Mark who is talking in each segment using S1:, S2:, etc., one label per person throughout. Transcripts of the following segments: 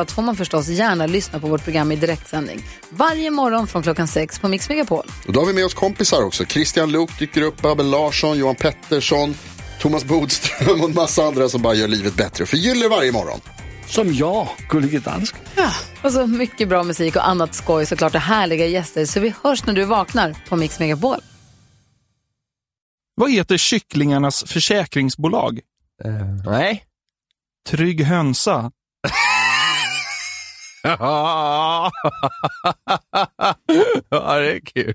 S1: allt får man förstås gärna lyssna på vårt program i direktsändning. Varje morgon från klockan sex på Mix Megapol.
S2: Och då har vi med oss kompisar också. Christian Luuk dyker upp, Abel Larsson, Johan Pettersson, Thomas Bodström och en massa andra som bara gör livet bättre för gillar varje morgon.
S3: Som jag, Gullige Dansken.
S1: Och så mycket bra musik och annat skoj såklart och härliga gäster. Så vi hörs när du vaknar på Mix Megapol.
S4: Vad heter kycklingarnas försäkringsbolag?
S5: Nej.
S4: Trygg Hönsa.
S5: ja, det är kul.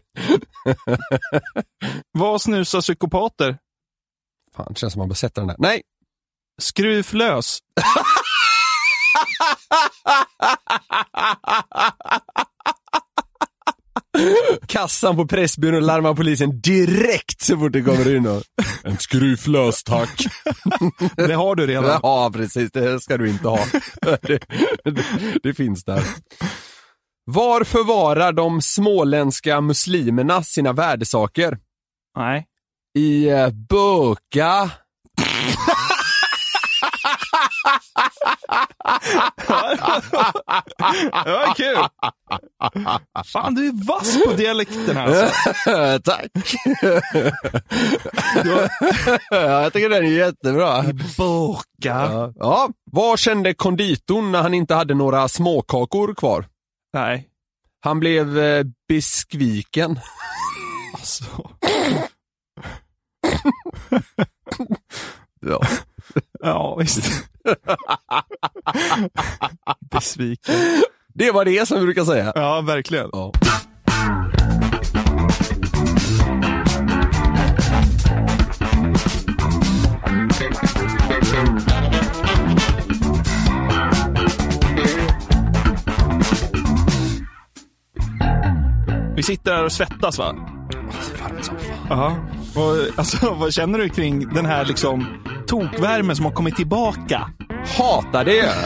S4: Vad snusar psykopater?
S5: Fan, det känns som man bör sätta den där. Nej!
S4: Skruvlös.
S5: Kassan på Pressbyrån larmar polisen direkt så fort det kommer in någon. En skruvlös tack.
S4: Det har du redan.
S5: Ja, precis. Det ska du inte ha. Det, det, det finns där. Var förvarar de småländska muslimerna sina värdesaker?
S4: Nej.
S5: I eh, Boka.
S4: Det var kul. Fan, du är vass på dialekten alltså.
S5: Tack! ja, jag tycker den är jättebra.
S4: Boka.
S5: Ja. Ja. Vad kände konditorn när han inte hade några småkakor kvar?
S4: Nej.
S5: Han blev eh, besviken.
S4: Alltså.
S5: Ja.
S4: Ja, visst. Besviken.
S5: Det var det som vi brukar säga.
S4: Ja, verkligen.
S5: Ja.
S4: Vi sitter här och svettas va? Ja. Och, alltså, vad känner du kring den här liksom tokvärmen som har kommit tillbaka?
S5: Hatar det!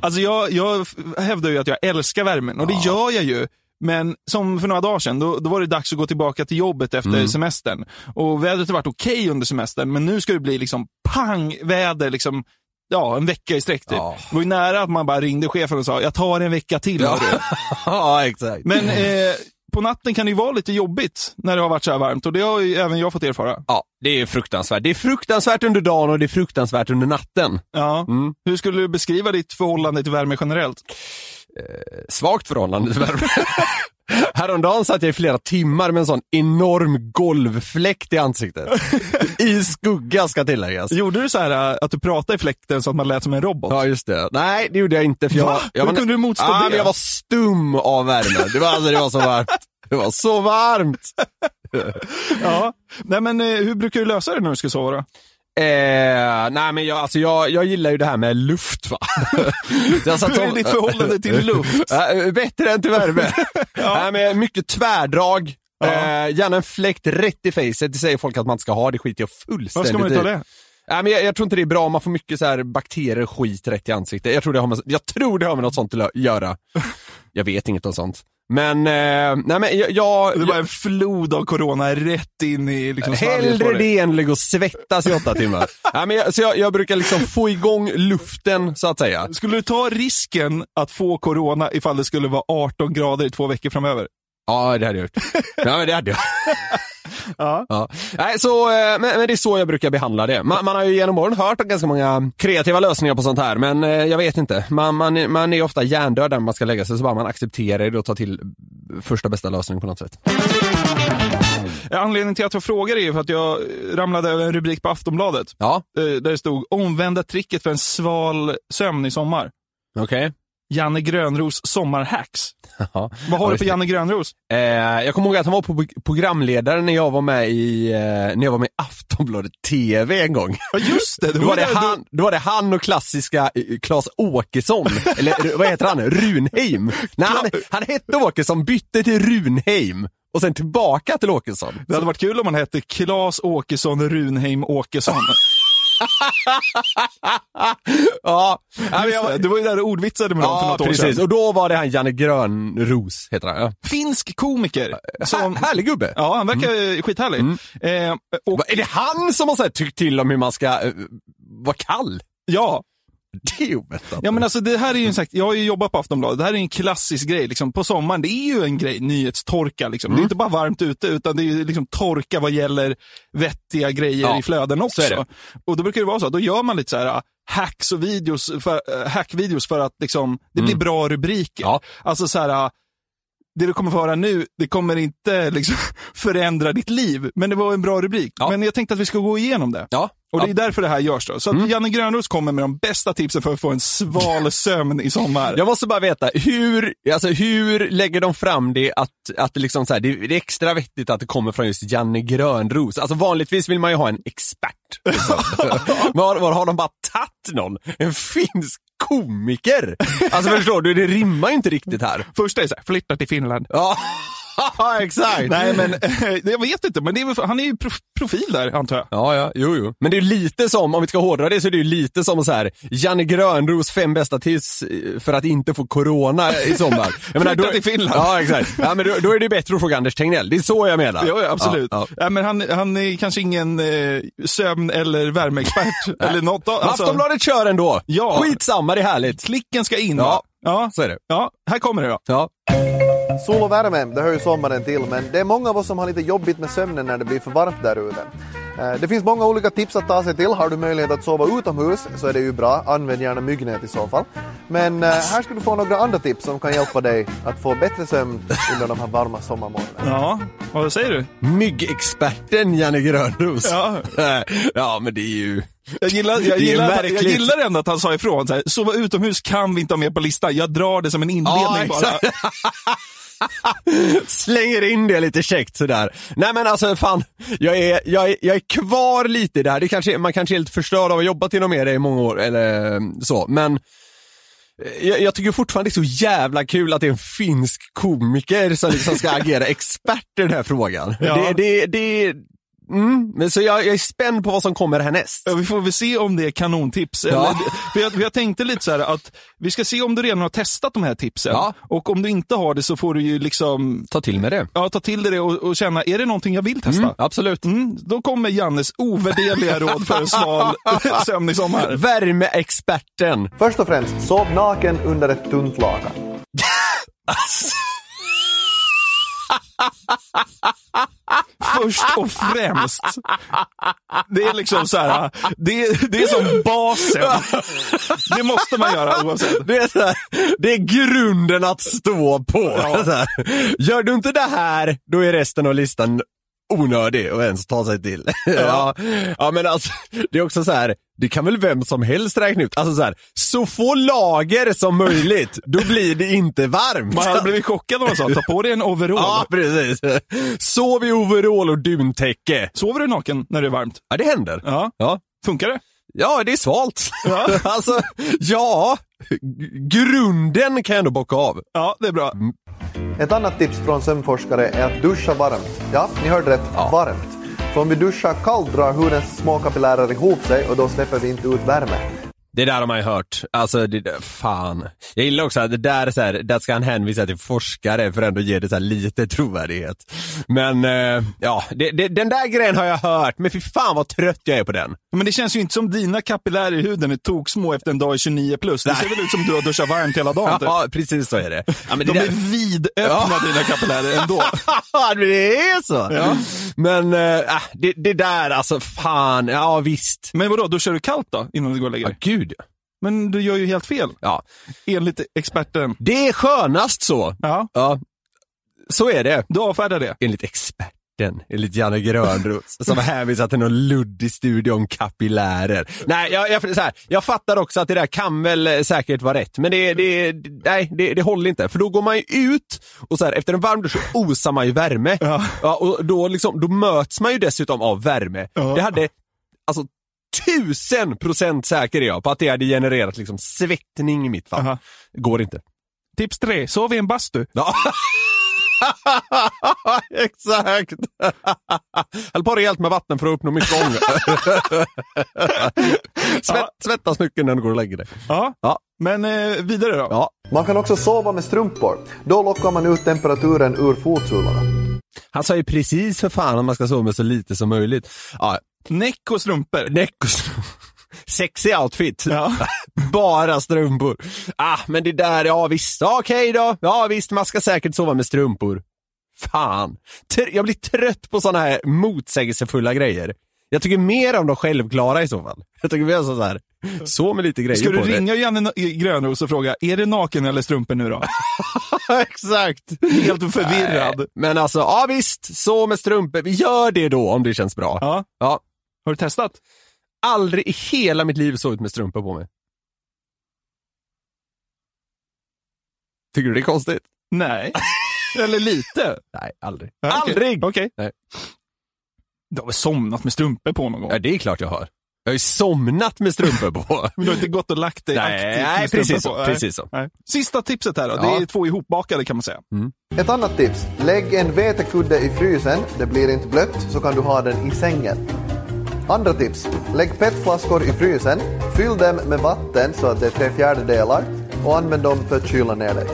S4: Alltså jag, jag f- hävdar ju att jag älskar värmen och det gör jag ju. Men som för några dagar sedan, då, då var det dags att gå tillbaka till jobbet efter
S5: Mm.
S4: semestern. Och vädret har varit okej under semestern, men nu ska det bli liksom pangväder liksom, ja, en vecka i sträck typ.
S5: Ja.
S4: Det var ju nära att man bara ringde chefen och sa, jag tar en vecka till.
S5: Ja,
S4: hörru."
S5: ja exakt.
S4: Men eh, på natten kan det ju vara lite jobbigt när det har varit så här varmt och det har ju även jag fått erfara.
S5: Ja, det är fruktansvärt. Det är fruktansvärt under dagen och det är fruktansvärt under natten.
S4: Ja.
S5: Mm.
S4: Hur skulle du beskriva ditt förhållande till värme generellt?
S5: Svagt förhållande till värme. Häromdagen satt jag i flera timmar med en sån enorm golvfläkt i ansiktet. I skugga ska tilläggas.
S4: Gjorde du så här eh, att du pratade i fläkten så att man lät som en robot?
S5: Ja, just det. Nej, det gjorde jag inte. För jag,
S4: Va?
S5: jag
S4: Hur kunde du motstå
S5: ah,
S4: det?
S5: Men jag var stum av värme. Det var, alltså, det var så varmt. Det var så varmt!
S4: Ja. Nej, men eh, hur brukar du lösa det när du ska sova då?
S5: Eh, nej men jag, alltså, jag, jag gillar ju det här med luft va. Så jag satt
S4: Hur är
S5: som-
S4: ditt förhållande till luft?
S5: Eh, bättre än till värme. Nej, men mycket tvärdrag.
S4: Ja.
S5: Eh, gärna en fläkt rätt i facet. Det säger folk att man inte ska ha. Det skiter jag fullständigt
S4: Varför ska man
S5: i.
S4: inte ha det?
S5: Nej, men jag, jag tror inte det är bra. Man får mycket så här bakterier och skit rätt i ansiktet. Jag tror det har med, jag tror det har med något sånt att lö- göra. Jag vet inget om sånt. Men, eh, nej men jag... jag,
S4: Det var
S5: jag
S4: en flod av corona rätt in i liksom, svalget på
S5: Hellre
S4: dig.
S5: det än ligga och svettas i åtta timmar. Nej, men jag, så jag, jag brukar liksom få igång luften, så att säga.
S4: Skulle du ta risken att få corona ifall det skulle vara 18 grader i två veckor framöver?
S5: Ja, det hade jag gjort. Ja, men det hade jag.
S4: Ja.
S5: Ja. Nej, så, eh, men, men det är så jag brukar behandla det. Man, man har ju genom åren hört om ganska många kreativa lösningar på sånt här, men eh, jag vet inte. Man, man, är- man är ofta hjärndöd när man ska lägga sig, så bara man accepterar det och tar till första bästa lösning på något sätt.
S4: Eh, Anledningen till att jag frågar är för att jag eh, ramlade över en rubrik på Aftonbladet
S5: Ja,
S4: eh, där det stod omvända tricket för en sval sömn i sommar.
S5: okej.
S4: Janne Grönros sommarhacks.
S5: Ja.
S4: Vad har
S5: Ja,
S4: du på
S5: just
S4: Janne Grönros?
S5: Eh, jag kommer ihåg att han var på programledare när jag var med i, eh, när jag var med i Aftonbladet TV en gång.
S4: Ja, just det.
S5: Då var, det
S4: där-
S5: han, då var det han och klassiska eh, Claes Åkesson, eller eh, vad heter han? Runheim. Nej, han, han hette Åkesson, bytte till Runheim och sen tillbaka till Åkesson.
S4: Det hade varit kul om han hette Klas Åkesson Runheim Åkesson.
S5: Ja, ja, men jag
S4: Just
S5: var-
S4: det, det var ju där du ordvitsade med dem för
S5: ja
S4: något år
S5: precis.
S4: sedan.
S5: Och då var det han Janne Grönros, heter han. Ja.
S4: Finsk komiker.
S5: Äh,
S4: Som,
S5: Härlig gubbe.
S4: ja, han verkar eh, skithärlig. Eh, och,
S5: Mm. Va, Är det han som har så här tyckt till om hur man ska eh, vara kall?
S4: ja,
S5: Det är ju oväntat.
S4: Ja men alltså det här är ju en sagt, jag har ju jobbat på Aftonbladet, det här är ju en klassisk grej liksom. På sommaren, det är ju en grej, nyhetstorka liksom.
S5: Mm.
S4: Det är inte bara varmt ute utan det är ju liksom torka vad gäller vettiga grejer
S5: Ja,
S4: i flöden också.
S5: så är det.
S4: Och då brukar det vara så, att då gör man lite så här ah, hacks och videos för, eh, hackvideos för att liksom, det blir bra rubriker.
S5: Mm. Ja.
S4: Alltså så här, ah, det du kommer få höra nu, det kommer inte liksom, förändra ditt liv, men det var en bra rubrik.
S5: Ja.
S4: Men jag tänkte att vi ska gå igenom det.
S5: Ja.
S4: Och det
S5: Ja.
S4: är därför det här görs då. Så att Janne Grönros kommer med de bästa tipsen för att få en sval sömn i sommar.
S5: Jag måste bara veta, hur, alltså hur lägger de fram det att, att det liksom så här, det, det är extra vettigt att det kommer från just Janne Grönros? Alltså vanligtvis vill man ju ha en expert. liksom. var, var har de bara tagit någon? En finsk komiker? Alltså förstår du, det rimmar ju inte riktigt här.
S4: Första är så här, flytta till Finland.
S5: Ja, exakt.
S4: Nej men, eh, jag vet inte, men det är, väl för- han är ju prof- profil där antar jag.
S5: Ja, ja, jo, jo. Men det är ju lite som, om vi ska hårdra det, så är det ju lite som så här, Janne Grönros fem bästa tips eh, för att inte få corona i sommar. Jag
S4: Flytta till Finland.
S5: Ja, exakt. Ja, men då, då är det ju bättre att fråga Anders Tegnell. Det är så jag menar.
S4: Ja, ja absolut.
S5: Ja, ja.
S4: Nej, men han, han är kanske ingen eh, sömn eller värmeexpert eller något. av-
S5: Men
S4: Alltså,
S5: Aftonbladet kör ändå.
S4: Ja.
S5: Skitsamma, det är härligt.
S4: klicken ska in.
S5: Ja.
S4: va? Ja.
S5: Så är det.
S4: ja, här kommer det då.
S5: Ja.
S6: Sol och värme, det hör ju sommaren till, men det är många av oss som har lite jobbigt med sömnen när det blir för varmt där ute. Eh, Det finns många olika tips att ta sig till. Har du möjlighet att sova utomhus så är det ju bra. Använd gärna myggnät i så fall. Men eh, här ska du få några andra tips som kan hjälpa dig att få bättre sömn under de här varma sommarmånaderna.
S4: Ja, vad säger du?
S5: Myggexperten Janne Grönros.
S4: Ja.
S5: ja, men det är ju...
S4: Jag gillar,
S5: Det är
S4: jag, gillar, att- jag
S5: märkligt.
S4: gillar ändå att han sa ifrån. Så här, sova utomhus kan vi inte ha med på listan. Jag drar det som en inledning bara.
S5: exakt. Slänger in det lite käckt sådär. Nej men alltså fan, jag är, jag är, jag är kvar lite där. Det kanske, man kanske är lite förstörd av att ha jobbat inom media i många år eller mm, så, men eh, jag, jag tycker fortfarande det är så jävla kul att det är en finsk komiker som liksom ska agera expert i den här frågan.
S4: Ja.
S5: Det, det, det, mm, men så jag, jag är spänd på vad som kommer härnäst.
S4: Ja, Vi får väl se om det är kanontips. Eller,
S5: Ja.
S4: för, jag, för jag tänkte lite så här att vi ska se om du redan har testat de här tipsen.
S5: Ja.
S4: Och om du inte har det så får du ju liksom
S5: Ta till med det.
S4: ja, ta till dig det och, och känna, är det någonting jag vill testa?
S5: Absolut.
S4: Mm, då kommer Jannes ovärderliga råd för en sval sömn i sommar.
S5: Värmeexperten.
S6: Först och främst, sov naken under ett tunt lakan.
S4: Först och främst. Det är liksom så här, det, det är som basen. Det måste man göra oavsett.
S5: Det är, så här, det är grunden att stå på. Så här. Gör du inte det här, då är resten av listan onödig och ens ta sig till. Ja. ja, men alltså, det är också så här, det kan väl vem som helst räkna ut. Alltså så här, så få lager som möjligt, då blir det inte varmt.
S4: Man hade blivit chockad om man sa, ta på dig en overall.
S5: Ja, precis. Sov i overall och duntäcke.
S4: Sover du naken när det är varmt?
S5: Ja, det händer.
S4: Ja.
S5: Ja,
S4: Funkar det?
S5: ja det är svalt.
S4: Ja.
S5: Alltså, ja, g- grunden kan jag ändå bocka av.
S4: Ja, det är bra.
S6: Ett annat tips från sömnforskare är att duscha varmt. Ja, ni hörde rätt. Varmt. För om vi duschar kallt drar hudens små kapillärer ihop sig och då släpper vi inte ut värme.
S5: Det där har man ju hört. Alltså, det, där- fan. Jag gillar också att det där, är så här, där ska han hänvisa till forskare för att ändå ge det så här lite trovärdighet. Men eh, ja, det, det, den där grejen har jag hört, men fy fan vad trött jag är på den.
S4: Men det känns ju inte som dina kapillärer i huden är toksmå efter en dag i 29 plus. Det ser väl ut som du har duschat varmt hela dagen. Typ.
S5: Ja, precis så är det. Ja, men det
S4: De är
S5: där-
S4: vidöppna dina kapillärer ändå.
S5: Ja, men det är så! Men eh, det, det där alltså, fan, ja visst.
S4: Men vadå, då kör du kallt då innan du går och lägger
S5: Ja,
S4: dig?
S5: gud.
S4: Men du gör ju helt fel,
S5: Ja.
S4: enligt experten.
S5: Det är skönast så.
S4: Ja,
S5: Ja, så är det.
S4: du avfärdar det.
S5: Enligt expert. Hjärten, enligt Janne Grönros, som hänvisar till någon luddig studie om kapillärer. Nej, jag, jag, så här, jag fattar också att det där kan väl eh, säkert vara rätt, men det, det, nej, det, det håller inte. För då går man ju ut och så här, efter en varm dusch så osar man ju värme. Ja. och då, liksom, då möts man ju dessutom av värme. Det hade, alltså tusen procent säker är jag på att det hade genererat liksom svettning i mitt fall.
S4: Aha.
S5: Går inte.
S4: Tips tre, sov i en bastu.
S5: Ja. Exakt! Höll på rejält med vatten för att uppnå mycket ånger. Svett, svettas mycket när du går och lägger dig.
S4: Ja.
S5: Ja.
S4: Men eh, vidare då.
S5: Ja.
S6: Man kan också sova med strumpor. Då lockar man ut temperaturen ur fotsulorna.
S5: Han sa ju precis för fan att man ska sova med så lite som möjligt. Ja,
S4: Näck och strumpor.
S5: näck och strum- Sexig outfit.
S4: Ja.
S5: Bara strumpor. Ah, men det där, ja visst, Ja, okej då. Ja visst, man ska säkert sova med strumpor. Fan. Tr- jag blir trött på sådana här motsägelsefulla grejer. Jag tycker mer om de självklara i så fall. Jag tycker mer så här, så med lite grejer
S4: Ska du
S5: på det.
S4: ringa Janne Na- Grönros och fråga, är det naken eller strumpor nu då?
S5: Exakt.
S4: Helt förvirrad.
S5: Nej, Men alltså, ja visst, så med strumpor. Vi gör det då om det känns bra.
S4: Ja.
S5: Ja.
S4: Har du testat?
S5: Aldrig i hela mitt liv sovit med strumpor på mig. Tycker du det är konstigt?
S4: Nej. eller lite.
S5: Nej, aldrig.
S4: Ja, okej.
S5: Aldrig!
S4: Okej.
S5: Nej.
S4: Du har väl somnat med strumpor på någon gång?
S5: Ja, det är klart jag har. Jag har ju somnat med strumpor på.
S4: Men du har inte gått och lagt dig aktivt
S5: nej
S4: med strumpor
S5: precis
S4: på?
S5: så.
S4: Nej.
S5: Precis så.
S4: Nej. Sista tipset här då.
S5: Ja.
S4: Det är två ihopbakade kan man säga.
S6: Ett annat tips. Lägg en vetekudde i frysen. Det blir inte blött så kan du ha den i sängen. Andra tips. Lägg petflaskor i frysen. Fyll dem med vatten så att det är tre fjärdedelar och använd dem för att kyla ner dig.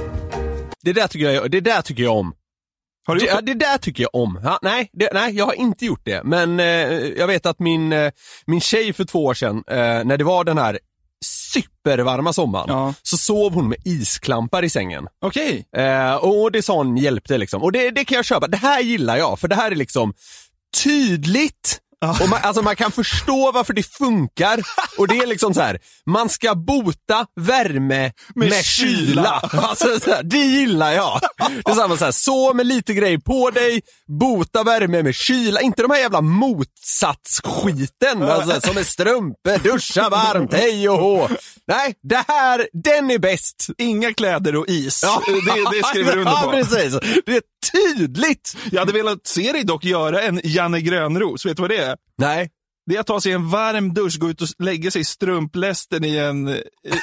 S5: Det där tycker jag, det där tycker jag om.
S4: Har du
S5: Det,
S4: gjort
S5: ja,
S4: det?
S5: det där tycker jag om. Ja, nej, det, nej, jag har inte gjort det. Men eh, jag vet att min, eh, min tjej för två år sedan, eh, när det var den här supervarma sommaren,
S4: Ja.
S5: så sov hon med isklampar i sängen.
S4: Okej.
S5: Eh, och det sa hon hjälpte liksom. Och det, det kan jag köpa. Det här gillar jag, för det här är liksom tydligt. Och man, alltså man kan förstå varför det funkar. Och det är liksom så här, man ska bota värme med, kyla. Alltså så här, det gillar jag. Det är samma så här, så med lite grej på dig, bota värme med kyla. Inte de här jävla motsatsskiten alltså, som är strumpor, duscha varmt, hej och hå. Nej, det här, den är bäst.
S4: Inga kläder och is. Det, det skriver du under
S5: Ja,
S4: på.
S5: precis. Det är tydligt.
S4: Jag hade velat se dig dock göra en Janne Grönros. Vet du vad det är?
S5: Nej.
S4: Det är att ta sig en varm dusch, gå ut och lägga sig i strumplästen i en,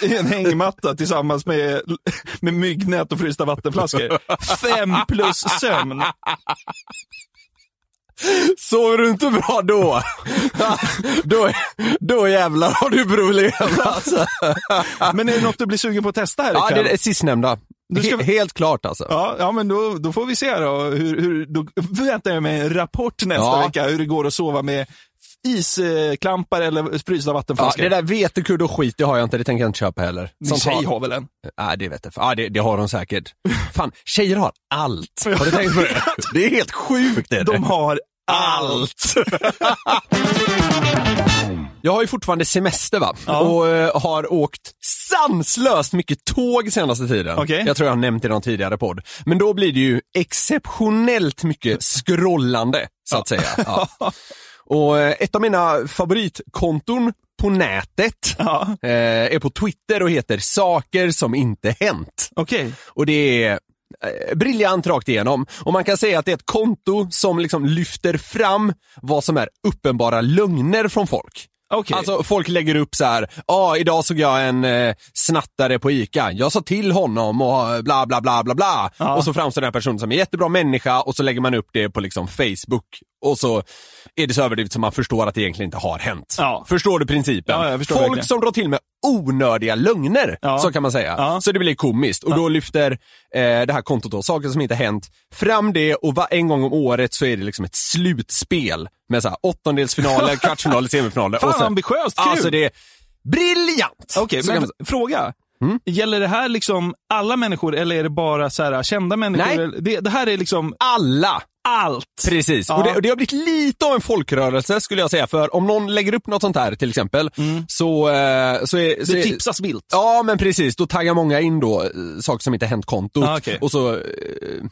S4: i en hängmatta tillsammans med, med myggnät och frysta vattenflaskor. Fem plus sömn.
S5: Sover du inte bra då? då, då jävlar har du problem. Alltså.
S4: Men är det något du blir sugen på att testa här
S5: Ja,
S4: ikväll?
S5: det är sistnämnda.
S4: Du ska-
S5: He- helt klart alltså.
S4: Ja, ja, men då, då får vi se då. Hur, hur, då väntar jag mig en rapport nästa
S5: Ja.
S4: vecka hur det går att sova med isklampar eller frysta
S5: Ja,
S4: vattenflaskor.
S5: det där vetekudde och skit, det har jag inte. Det tänker jag inte köpa heller.
S4: Din tjej
S5: fan-
S4: har väl en?
S5: Ja, det vet jag. Ja, det, det har de säkert. Fan, tjejer har allt. Har du tänkt på det? Det är helt sjukt. Är det?
S4: De har
S5: allt. Jag har ju fortfarande semester va? Och eh, har åkt sanslöst mycket tåg senaste tiden.
S4: Okej.
S5: Jag tror jag har nämnt det i någon tidigare podd. Men då blir det ju exceptionellt mycket scrollande, så att säga. Ja. Och eh, ett av mina favoritkonton på nätet
S4: Ja.
S5: eh, är på Twitter och heter Saker som inte hänt.
S4: Okej.
S5: Och det är eh, briljant rakt igenom. Och man kan säga att det är ett konto som liksom lyfter fram vad som är uppenbara lögner från folk.
S4: Okej.
S5: Alltså folk lägger upp så här, ja ah, idag såg jag en eh, snattare på ICA, jag sa till honom och eh, bla bla bla bla bla. Och så framstår den här personen som en jättebra människa och så lägger man upp det på liksom Facebook. Och så är det så överdrivet som man förstår att det egentligen inte har hänt.
S4: Ja.
S5: Förstår du principen?
S4: Ja, jag förstår
S5: folk
S4: verkligen.
S5: som drar till med onödiga lögner,
S4: Ja.
S5: så kan man säga.
S4: Ja.
S5: Så det blir komiskt. Och då lyfter eh, det här kontot då, saker som inte hänt, fram det och va- en gång om året så är det liksom ett slutspel med så här åttondelsfinaler, kvartsfinaler, semifinaler.
S4: Fan,
S5: och så,
S4: ambitiöst, kul!
S5: Alltså det är briljant!
S4: Okej,
S5: Så kan
S4: men
S5: man- Mm?
S4: fråga. Gäller det här liksom alla människor eller är det bara så här, kända människor?
S5: Nej.
S4: Det, det här är liksom
S5: alla!
S4: allt.
S5: Precis,
S4: Ja.
S5: och, det, och det har blivit lite av en folkrörelse skulle jag säga, för om någon lägger upp något sånt här till exempel, så, eh, så är... Så
S4: Mm. Det
S5: är
S4: tipsas vilt.
S5: Ja men precis, då taggar många in då eh, saker som inte hänt kontot
S4: Ah, okej.
S5: och så eh,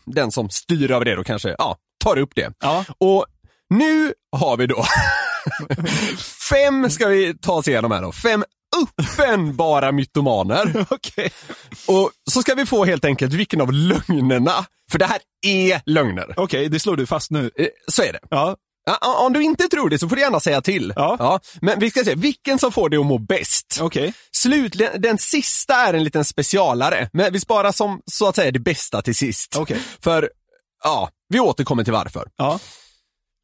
S5: den som styr över det då kanske, ja, tar upp det.
S4: Ja.
S5: Och nu har vi då fem, ska vi ta oss igenom här då, fem uppenbara mytomaner.
S4: Okej.
S5: Och så ska vi få helt enkelt vilken av lögnerna, för det här är lögner.
S4: Okej, det slår du fast nu.
S5: Eh, Så är det.
S4: Ja.
S5: Ja, Om du inte tror det så får du gärna säga till.
S4: Ja.
S5: men vi ska se, vilken som får dig att må bäst?
S4: Okej.
S5: Slutligen, den sista är en liten specialare, men vi sparar som, så att säga, det bästa till sist.
S4: Okej.
S5: För, ja, vi återkommer till varför.
S4: Ja.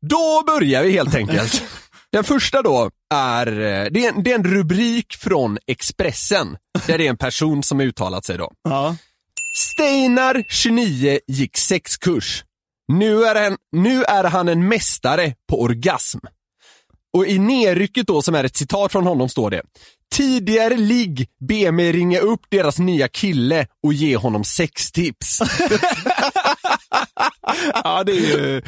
S5: Då börjar vi helt enkelt. Den första då är, eh, det är, en, det är en rubrik från Expressen, där det är en person som uttalat sig då.
S4: Ja.
S5: Steinar, 29, gick sexkurs. Nu är, han, nu är han en mästare på orgasm. Och i nerrycket då, som är ett citat från honom, står det. Tidigare ligg, be mig ringa upp deras nya kille och ge honom sextips.
S4: ja, det är ju...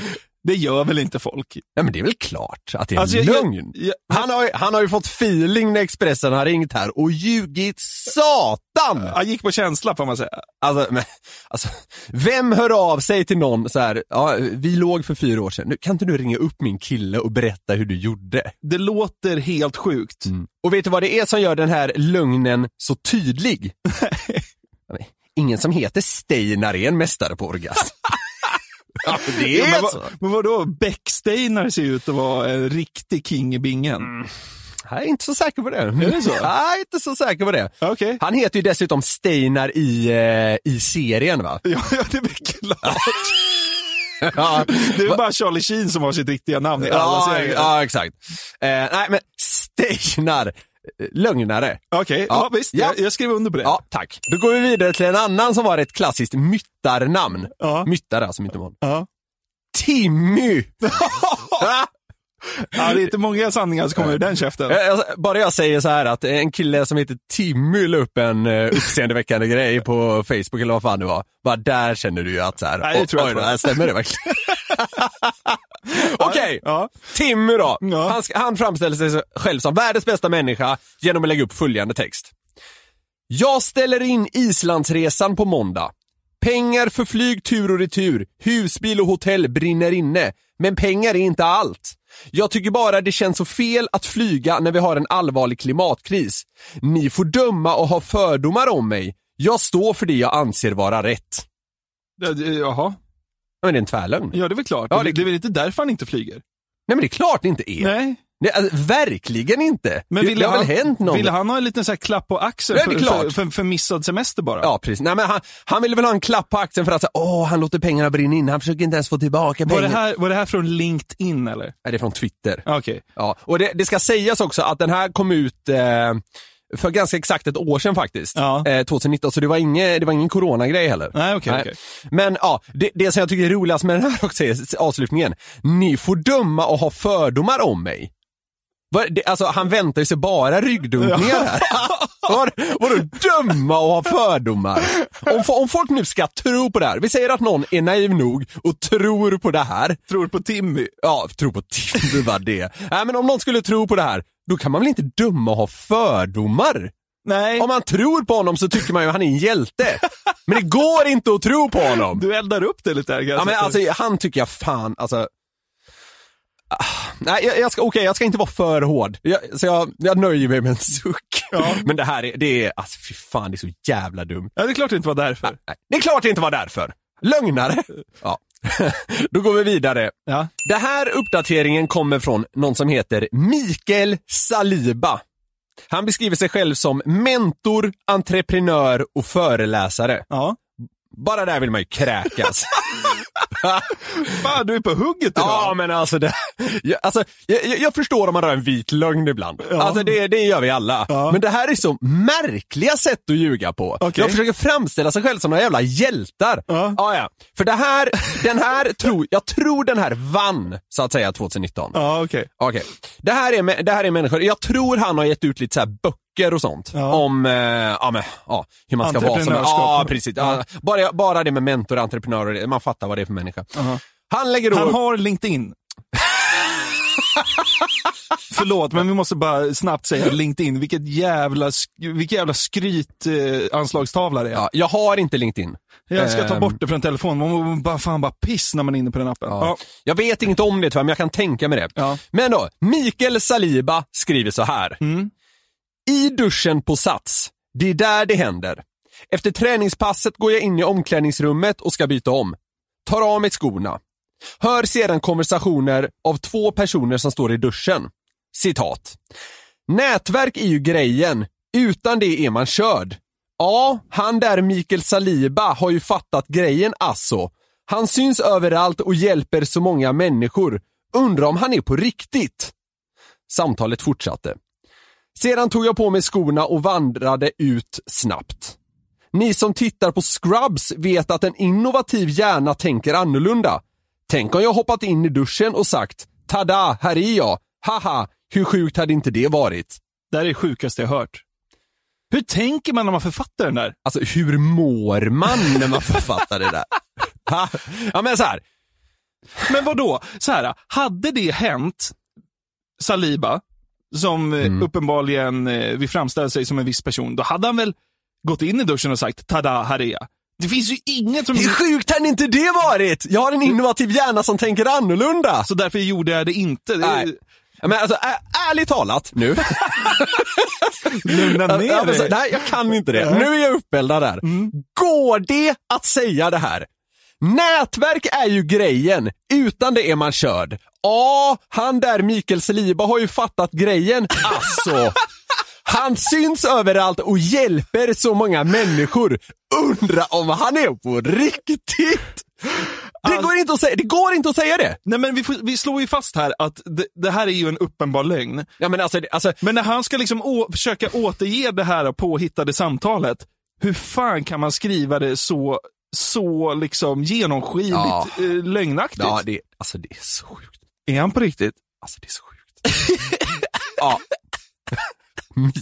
S4: Det gör väl inte folk?
S5: Nej men det är väl klart att det är
S4: Alltså,
S5: en
S4: jag- jag-
S5: lögn.
S4: jag-
S5: han, har, ju- han har ju fått feeling när Expressen har ringt här och ljugit satan!
S4: Jag gick på känsla får man säga.
S5: Alltså, men, alltså, vem hör av sig till någon så här, ja, vi låg för fyra år sedan, nu, kan inte du ringa upp min kille och berätta hur du gjorde? Mm.
S4: Det låter helt sjukt.
S5: Och vet du vad det är som gör den här lögnen så tydlig? Ingen som heter Steinar är en mästare på orgasm. ja, det
S4: Ja,
S5: är
S4: men,
S5: så.
S4: vad, men vadå, Bäcksteinar ser ut att vara en riktig king i bingen.
S5: Mm. Jag är inte så säker på det.
S4: Är det så?
S5: Jag är inte så säker på det.
S4: Okej.
S5: Han heter ju dessutom Steinar i, eh, i serien va?
S4: Ja, ja, det är väl klart.
S5: Ja,
S4: Det är bara Charlie Sheen som har sitt riktiga namn i alla
S5: ja,
S4: serier.
S5: ja exakt. Eh, nej men Steinar, eh, lögnare.
S4: Okej, ja, visst.
S5: Ja.
S4: Jag, jag skrev under på det.
S5: Ja, tack. Då går vi vidare till en annan som var ett klassiskt myttarnamn.
S4: Ja.
S5: Myttare alltså, mytoman.
S4: Ja.
S5: Timmy!
S4: Ja, det är inte många sanningar som kommer ur den käften.
S5: Eh, alltså, Bara jag säger så här att en kille som heter Timmy la upp en eh, uppseendeväckande grej på Facebook eller vad fan det var. Bara där känner du ju att så här,
S4: Nej, det
S5: oj,
S4: tror jag
S5: oj,
S4: inte.
S5: det här stämmer det verkligen? Okej,
S4: Ja.
S5: Timmy då.
S4: Ja.
S5: Han, ska- han framställer sig själv som världens bästa människa genom att lägga upp följande text. Jag ställer in Islandsresan på måndag. Pengar för flyg tur och retur, husbil och hotell brinner inne. Men pengar är inte allt. Jag tycker bara det känns så fel att flyga när vi har en allvarlig klimatkris. Ni får döma och ha fördomar om mig. Jag står för det jag anser vara rätt.
S4: Ja, det- Jaha.
S5: Ja, Men det är en tvärlögn.
S4: Ja, det är väl klart.
S5: Ja, det-
S4: det... är väl inte därför han inte flyger?
S5: Nej men det är klart det inte är.
S4: Nej.
S5: Nej, alltså, verkligen inte.
S4: Men
S5: det,
S4: ville
S5: det har
S4: han,
S5: väl hänt någon
S4: Ville han ha en liten så här klapp på axeln
S5: Ja, det är
S4: för, för,
S5: klart.
S4: för, för missad semester bara?
S5: Ja, precis. Nej, men han, han ville väl ha en klapp på axeln för att säga, åh, han låter pengarna brinna in, han försöker inte ens få tillbaka
S4: Var,
S5: pengarna.
S4: det här, var det här från LinkedIn eller?
S5: Nej, det är från Twitter.
S4: Ja, Okej.
S5: Ja, och det, det ska sägas också att den här kom ut eh, för ganska exakt ett år sedan faktiskt.
S4: Ja.
S5: Eh, 2019, så det var, inge, det var ingen coronagrej heller.
S4: Nej, okej, okej.
S5: Men ja, det, det som jag tycker är roligast med den här också är avslutningen. Ni får döma och ha fördomar om mig. Vad- det- Alltså han väntar ju sig bara ryggdunkningar här. Vad- Vadå döma och ha fördomar? Om, fo- om folk nu ska tro på det här, vi säger att någon är naiv nog och tror på det här.
S4: Tror på Timmy.
S5: Ja, tro på Tinder var det. Nej, men om någon skulle tro på det här, då kan man väl inte döma och ha fördomar?
S4: Nej,
S5: Om man tror på honom så tycker man ju att han är en hjälte. Men det går inte att tro på honom.
S4: du eldar upp det lite här
S5: Ja,
S4: kanske.
S5: men alltså, han tycker jag fan, alltså. Ah, Nej, jag, jag ska, okej, jag ska inte vara för hård. Jag, så jag, jag nöjer mig med en suck. Men det här är, det är, alltså fy fan, det är så jävla dumt.
S4: Ja, det är klart det inte var därför.
S5: Nej, det är klart det inte var därför. Lögnare. Ja. Då går vi vidare.
S4: Ja.
S5: Den här uppdateringen kommer från någon som heter Mikael Saliba. Han beskriver sig själv som mentor, entreprenör och föreläsare.
S4: Ja.
S5: Bara där vill man ju kräkas.
S4: Fan, du är på hugget idag.
S5: Ja, men alltså, det, jag, alltså jag, jag- jag förstår om man har en vit lögn ibland. Alltså det, det gör vi alla. Men det här är så märkliga sätt att ljuga på.
S4: Okej.
S5: Jag försöker framställa sig själv som några jävla hjältar.
S4: Ja.
S5: Ja, ja. För det här, den här tror, jag tror den här vann, så att säga, 2019.
S4: Ja, okej.
S5: Okej. Det, här är mä- det här är människor, jag tror han har gett ut lite så här böcker och sånt. Om eh, ja, men, ja, hur man ska vara som
S4: Entreprenörskap.
S5: Ja, precis. Ja. Bara, bara det med mentor, entreprenörer, det- man fattar vad det är för människa. Han lägger då
S4: Han
S5: upp-
S4: har LinkedIn. Förlåt, men vi måste bara snabbt säga LinkedIn. Vilket jävla, sk- vilket jävla skryt eh, anslagstavla det är. Eh,
S5: Ja, jag har inte LinkedIn.
S4: Jag ska ta
S5: Ehm.
S4: bort det från telefonen. Man mår bara, fan bara piss när man är inne på den appen.
S5: Ja.
S4: Ja.
S5: Jag vet inte om det tyvärr, men jag kan tänka mig det.
S4: Ja.
S5: Men då, Mikael Saliba skriver så här.
S4: Mm.
S5: I duschen på Sats. Det är där det händer. Efter träningspasset går jag in i omklädningsrummet och ska byta om. Tar av mig skorna. Hör sedan konversationer av två personer som står i duschen. Citat. Nätverk är ju grejen. Utan det är man körd. Ja, han där Mikael Saliba har ju fattat grejen alltså. Han syns överallt och hjälper så många människor. Undrar om han är på riktigt? Samtalet fortsatte. Sedan tog jag på mig skorna och vandrade ut snabbt. Ni som tittar på Scrubs vet att en innovativ hjärna tänker annorlunda. Tänk om jag hoppat in i duschen och sagt “Tada, här är jag! Haha, hur sjukt hade inte det varit?”
S4: Det här är det sjukaste jag hört. Hur tänker man när man författar den där?
S5: Alltså hur mår man när man författar det där? Ha? Ja men så här.
S4: Men vad då? Så här, hade det hänt Saliba, som eh, uppenbarligen eh, vill framställa sig som en viss person, då hade han väl gått in i duschen och sagt “Tada, här är jag”. Det finns ju inget som...
S5: Hur sjukt hade inte det varit? Jag har en innovativ hjärna som tänker annorlunda.
S4: Så därför gjorde jag det inte. Det är-
S5: Nej. Ja, Men alltså, ä- ärligt talat nu.
S4: Lugna
S5: Ja,
S4: ner
S5: men så,
S4: dig.
S5: nej, jag kan inte det. Nu är jag uppeldad där. Går det att säga det här? Nätverk är ju grejen. Utan det är man körd. Ja, han där Mikael Saliba har ju fattat grejen. Alltså. Han syns överallt och hjälper så många människor. Undra om han är på riktigt? Det går inte att säga det. Går inte att säga det.
S4: Nej, men vi, får, vi slår ju fast här att det, det här är ju en uppenbar lögn.
S5: Ja, men alltså, det- alltså,
S4: Men när han ska liksom å, försöka återge det här påhittade samtalet, hur fan kan man skriva det så, så liksom genomskinligt
S5: Ja.
S4: eh, lögnaktigt?
S5: ja, det, alltså, det är så sjukt.
S4: Är han på riktigt?
S5: Alltså det är så sjukt. ja.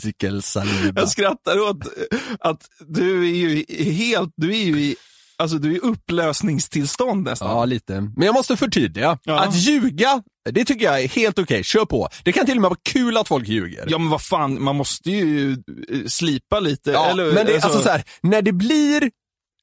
S5: Mikael Saliba.
S4: Jag skrattar åt att du är ju i- helt, du är ju i, alltså du är i upplösningstillstånd nästan.
S5: Ja, lite. Men jag måste förtydliga.
S4: Ja.
S5: Att ljuga, det tycker jag är helt okej. Kör på. Det kan till och med vara kul att folk ljuger.
S4: Ja men vad fan, man måste ju eh, slipa lite.
S5: Ja,
S4: eller,
S5: men det, är alltså, så här, när det blir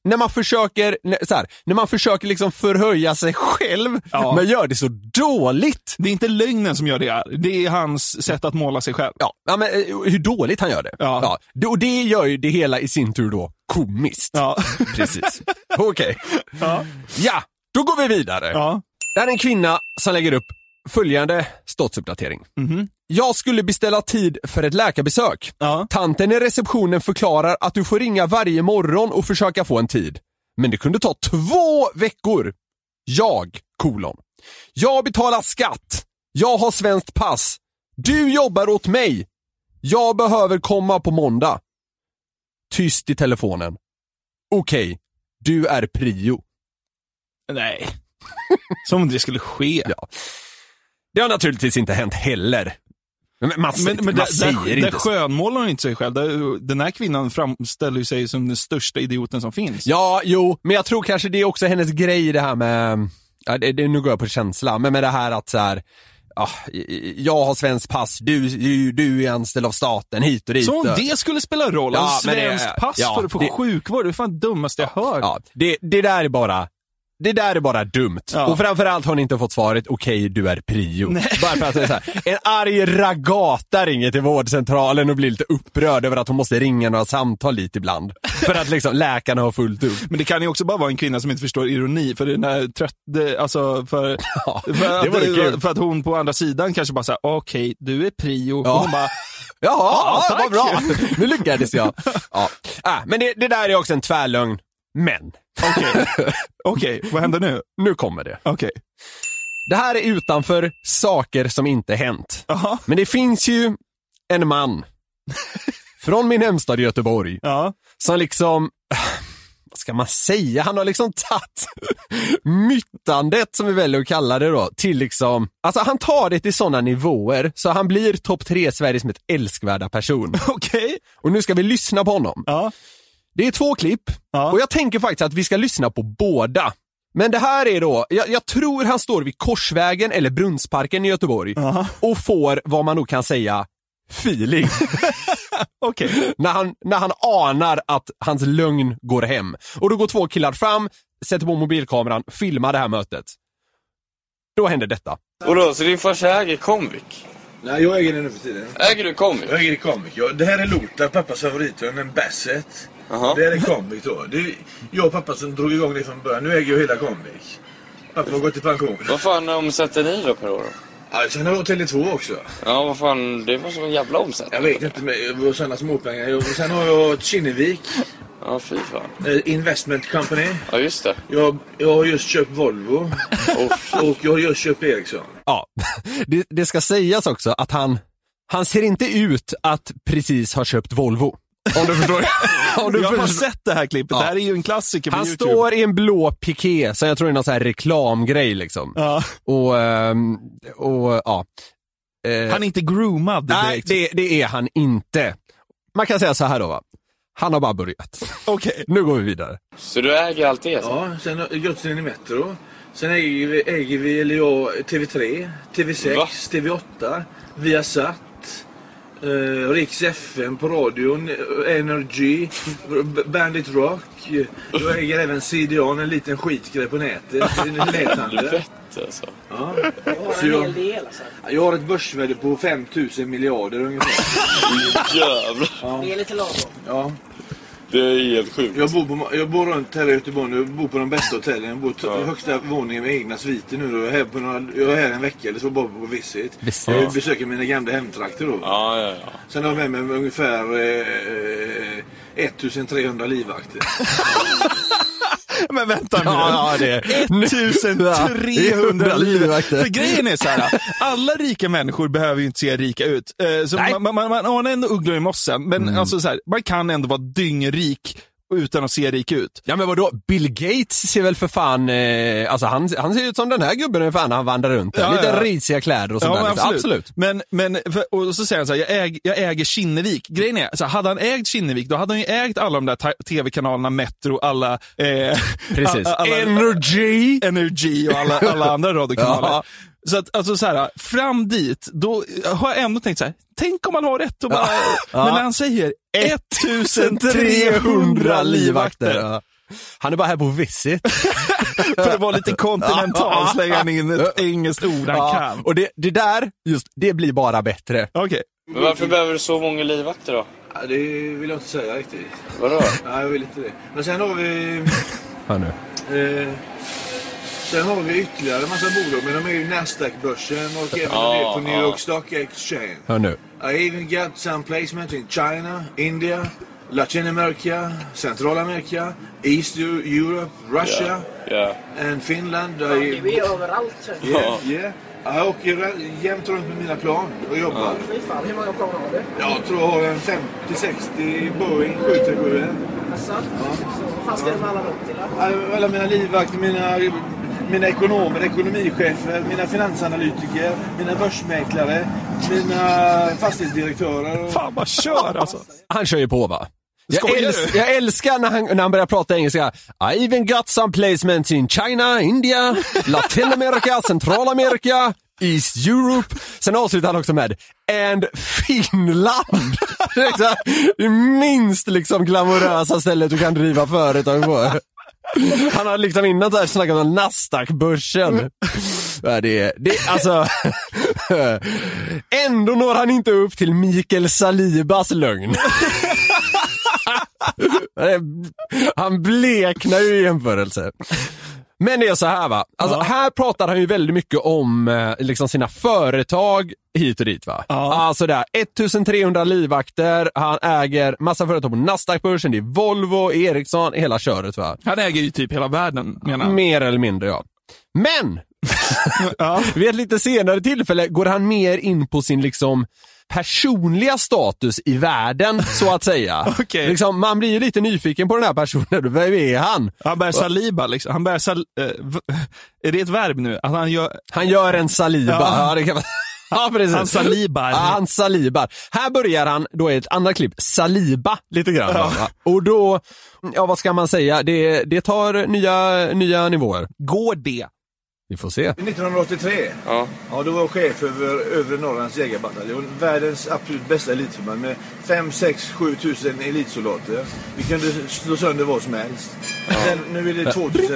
S5: när man försöker, när- så här, när man försöker liksom förhöja sig själv,
S4: Ja.
S5: men gör det så dåligt.
S4: det är inte lögnen som gör det här, det är hans sätt att måla sig själv.
S5: Ja, ja, men eh, hur dåligt han gör det.
S4: Ja.
S5: det- Och det gör ju det hela i sin tur då komiskt.
S4: Ja.
S5: Precis. Okej.
S4: Ja.
S5: Ja, då går vi vidare.
S4: ja.
S5: Det här är en kvinna som lägger upp följande statusuppdatering.
S4: Mhm.
S5: Jag skulle beställa tid för ett läkarbesök.
S4: Ja.
S5: Tanten i receptionen förklarar att du får ringa varje morgon och försöka få en tid. Men det kunde ta två veckor. Jag, kolon. Jag betalar skatt. Jag har svenskt pass. Du jobbar åt mig. Jag behöver komma på måndag. Tyst i telefonen. Okej, du är prio.
S4: Nej. Som om det skulle ske.
S5: Ja. Det har naturligtvis inte hänt heller. Men man,
S4: Men, men
S5: man
S4: där,
S5: säger
S4: där, där
S5: inte så.
S4: skönmålar hon inte sig själv. Där, den här kvinnan framställer ju sig som den största idioten som finns.
S5: Ja, jo, men jag tror kanske det är också hennes grej det här med, ja, det, det, nu går jag på känsla, men med det här att så här, ja, jag har svenskt pass, du, du, du är anställd av staten, hit och dit.
S4: Som om
S5: Och-
S4: det skulle spela roll.
S5: Ja,
S4: alltså,
S5: men det-
S4: svenskt pass
S5: ja,
S4: för att få
S5: det-
S4: sjukvård. Det är fan det dummaste jag hört.
S5: Ja, det, det där är bara det där är bara dumt.
S4: Ja.
S5: Och framförallt har ni inte fått svaret, okej du är prio. Bara för att det är så här, en arg ragata ringer till vårdcentralen och blir lite upprörd över att hon måste ringa några samtal dit ibland. För att liksom läkarna har fullt upp.
S4: Men det kan ju också bara vara en kvinna som inte förstår ironi, för den här trött, det- alltså för,
S5: Ja,
S4: för,
S5: det
S4: att,
S5: vore kul.
S4: för att hon på andra sidan kanske bara säger okej, du är prio.
S5: Ja.
S4: Och hon bara,
S5: Jaha,
S4: Ja,
S5: ja, vad
S4: tack.
S5: bra. Nu lyckades jag. Ja. Äh, men det, det där är också en tvärlögn. Men,
S4: okej, okej, vad händer nu?
S5: nu kommer det.
S4: Okej.
S5: Det här är utanför saker som inte hänt.
S4: Jaha.
S5: Men det finns ju en man från min hemstad Göteborg
S4: Ja.
S5: som liksom, vad ska man säga, han har liksom tagit myttandet som vi väljer att kalla det då till liksom, alltså han tar det till sådana nivåer så han blir topp tre Sveriges mest älskvärda person.
S4: Okej.
S5: Och nu ska vi lyssna på honom.
S4: Ja.
S5: Det är två klipp
S4: Ja.
S5: och jag tänker faktiskt att vi ska lyssna på båda. Men det här är då, jag, jag tror han står vid Korsvägen eller Brunnsparken i Göteborg och får vad man nog kan säga feeling
S4: Okej.
S5: när, han, när han anar att hans lögn går hem. Och då går två killar fram, sätter på mobilkameran, filmar det här mötet. Då händer detta.
S7: Vadå, så din farsa äger Comvik?
S8: Nej, jag äger den nu för tiden.
S7: Äger du Comvik?
S8: Jag äger Comic. Jag, det här är Lotar, pappas favoritöl, en Basset.
S7: Jaha.
S8: Det här är Comic då. Det är jag och pappa som drog igång det från början. Nu äger jag hela Comic. Pappa har gått i pension.
S7: Vad fan omsätter ni då per år? då?
S8: Ja, sen har jag Tele2 också.
S7: Ja, vad fan, det var som en jävla
S8: Jag
S7: omsättning.
S8: vet inte, men det var sådana småpengar. Jag- Sen har jag Kinnevik
S7: Ja, fy fan.
S8: eh, Investment Company.
S7: Ja, just det.
S8: Jag, jag har just köpt Volvo. Och, och jag har just köpt Ericsson.
S5: Ja, det, det ska sägas också att han, han ser inte ut att precis ha köpt Volvo. Om du förstår. Om du
S4: Jag har
S5: förstår.
S4: sett det här klippet. Det här är ju en klassiker på
S5: Han
S4: YouTube.
S5: står i en blå piké, så jag tror det är någon sån här reklamgrej liksom.
S4: Ja.
S5: Och, ehm, och ja. Eh,
S4: Han är inte groomad
S5: nej,
S4: direkt.
S5: det, det är han inte. Man kan säga så här då va. Han har bara börjat.
S4: Okej.
S5: Nu går vi vidare.
S7: Så du äger allt det? alltså?
S8: Ja, sen har jag Götsen i Metro. Sen äger vi, äger vi E eller jag, TV3, TV6,
S7: Va?
S8: TV8, Viasat, eh, Riks FM på radion, eh, Energy, B- Bandit Rock. Jag äger även CDON, en liten skitgrej på nätet, en
S7: Du
S8: näthandel.
S7: fett alltså.
S8: Ja. Så jag, jag har ett börsvärde på 5000 miljarder ungefär.
S7: Jävlar.
S8: Ja.
S7: Det är helt sjukt. alltså.
S8: Jag, bor på, jag bor runt här i Göteborg nu, bor på de bästa hotellen. Jag bor på högsta våningen med egna sviter nu. och Jag är här, på några, jag är här en vecka eller så bara på visit.
S5: Visit.
S8: Jag besöker mina gamla hemtrakter då.
S7: Ja, ja, ja.
S8: Sen har jag med mig ungefär eh, 1300 livvakter.
S4: Men vänta nu.
S5: Ja, ja, det är-
S4: 1300
S5: Ja, livvakter.
S4: livvakter. För grejen är så här, alla rika människor behöver ju inte se rika ut. Eh, Så
S5: Nej.
S4: man, man, man har ändå ugglor i mossen, men alltså så här, man kan ändå vara dyngrik utan att se rik ut.
S5: Ja men vadå, Bill Gates ser väl för fan, eh, alltså han, han ser ut som den här gubben ungefär när han vandrar runt. där.
S4: Ja,
S5: Lite
S4: ja.
S5: risiga kläder och sånt
S4: Ja,
S5: där.
S4: men
S5: liksom.
S4: absolut.
S5: absolut.
S4: Men, men, för- och så säger han så här, jag, äg, jag äger Kinnevik. Grejen är, så här, hade han ägt Kinnevik, då hade han ju ägt alla de där ta- tv-kanalerna, Metro, alla... Eh,
S5: Precis.
S4: a- a- alla-
S5: Energy!
S4: Energy och alla, alla andra radiokanaler.
S5: Ja.
S4: Så att, alltså så här, fram dit, då har jag ändå tänkt så här, tänk om man har rätt och bara, men när han säger 1300 livvakter,
S5: Ja. Han är bara här på visit.
S4: för att vara lite kontinental slänger han in ett engelskt ord han
S5: Ja.
S4: kan.
S5: Och det, det där, just det blir bara bättre.
S4: Okej,
S7: Men varför behöver du så många livvakter då?
S8: Ja, det vill jag inte säga riktigt.
S7: Vadå?
S8: Nej, jag vill inte det. Men sen har vi...
S5: Hör nu.
S8: Eh, sen har vi ytterligare en massa bolag, men de är ju Nasdaq-börsen och även
S7: Ja,
S8: en del på New
S7: ja.
S8: York Stock Exchange.
S5: Hör nu.
S8: I even got some placement in China, India, Latin America, Central America, East Eu- Europe, Russia
S7: Ja.
S8: and Finland. I, yeah,
S9: överallt. så.
S7: Ja.
S8: yeah. Jag åker ra- jämt runt med mina plan och jobbar.
S9: Fy fan, hur många plan har du?
S8: Jag tror jag har en 50-60 Boeing 737.
S9: Alltså, vad fan ska du med alla dem till? då?
S8: Alla- Alla mina livvakter, mina, mina ekonomer, ekonomichefer, mina finansanalytiker, mina börsmäklare, mina fastighetsdirektörer. Och...
S4: fan vad kör alltså.
S5: Han kör ju på va? Jag,
S4: Skojar
S5: äls- jag älskar när han, när han börjar prata engelska. I even got some placements in China, India, Latinamerika, Centralamerika, East Europe. Sen avslutar han också med And Finland! Det är liksom det minst liksom glamorösa stället du kan driva företag på. Han har liksom innan där snackat om Nasdaq-börsen. Ja, det är, det är alltså... Ändå når han inte upp till Mikael Salibas lögn. Han bleknar ju i jämförelse. Men det är så här va, alltså, här pratar han ju väldigt mycket om eh, liksom sina företag hit och dit va. Alltså det här, 1300 livvakter, han äger massa företag på Nasdaq-börsen, det är Volvo, Ericsson, hela köret va.
S4: Han äger ju typ hela världen menar han.
S5: Mer eller mindre ja. Men! Vid ett lite senare tillfälle går han mer in på sin liksom personliga status i världen, så att säga.
S4: Okej.
S5: liksom, man blir ju lite nyfiken på den här personen. Vem är han?
S4: Han bär saliba liksom. Han bär sal... eh, v- är det ett verb nu? Att han gör...
S5: Han gör en saliba.
S4: Ja.
S5: Ja, det kan man... Ja, precis.
S4: Han salibar.
S5: Ja, han salibar. Här börjar han, då i ett annat klipp, saliba lite grann. va? Och då, ja vad ska man säga, det, det tar nya, nya nivåer.
S4: Går det?
S5: Vi får se.
S8: 1983?
S7: Ja.
S8: Ja, då var jag chef över Övre Norrlands jägarbataljon. Världens absolut bästa elitförband med 5, 6, 7 tusen elitsoldater. Vi kunde slå sönder vad som helst. Sen, nu är det 2010.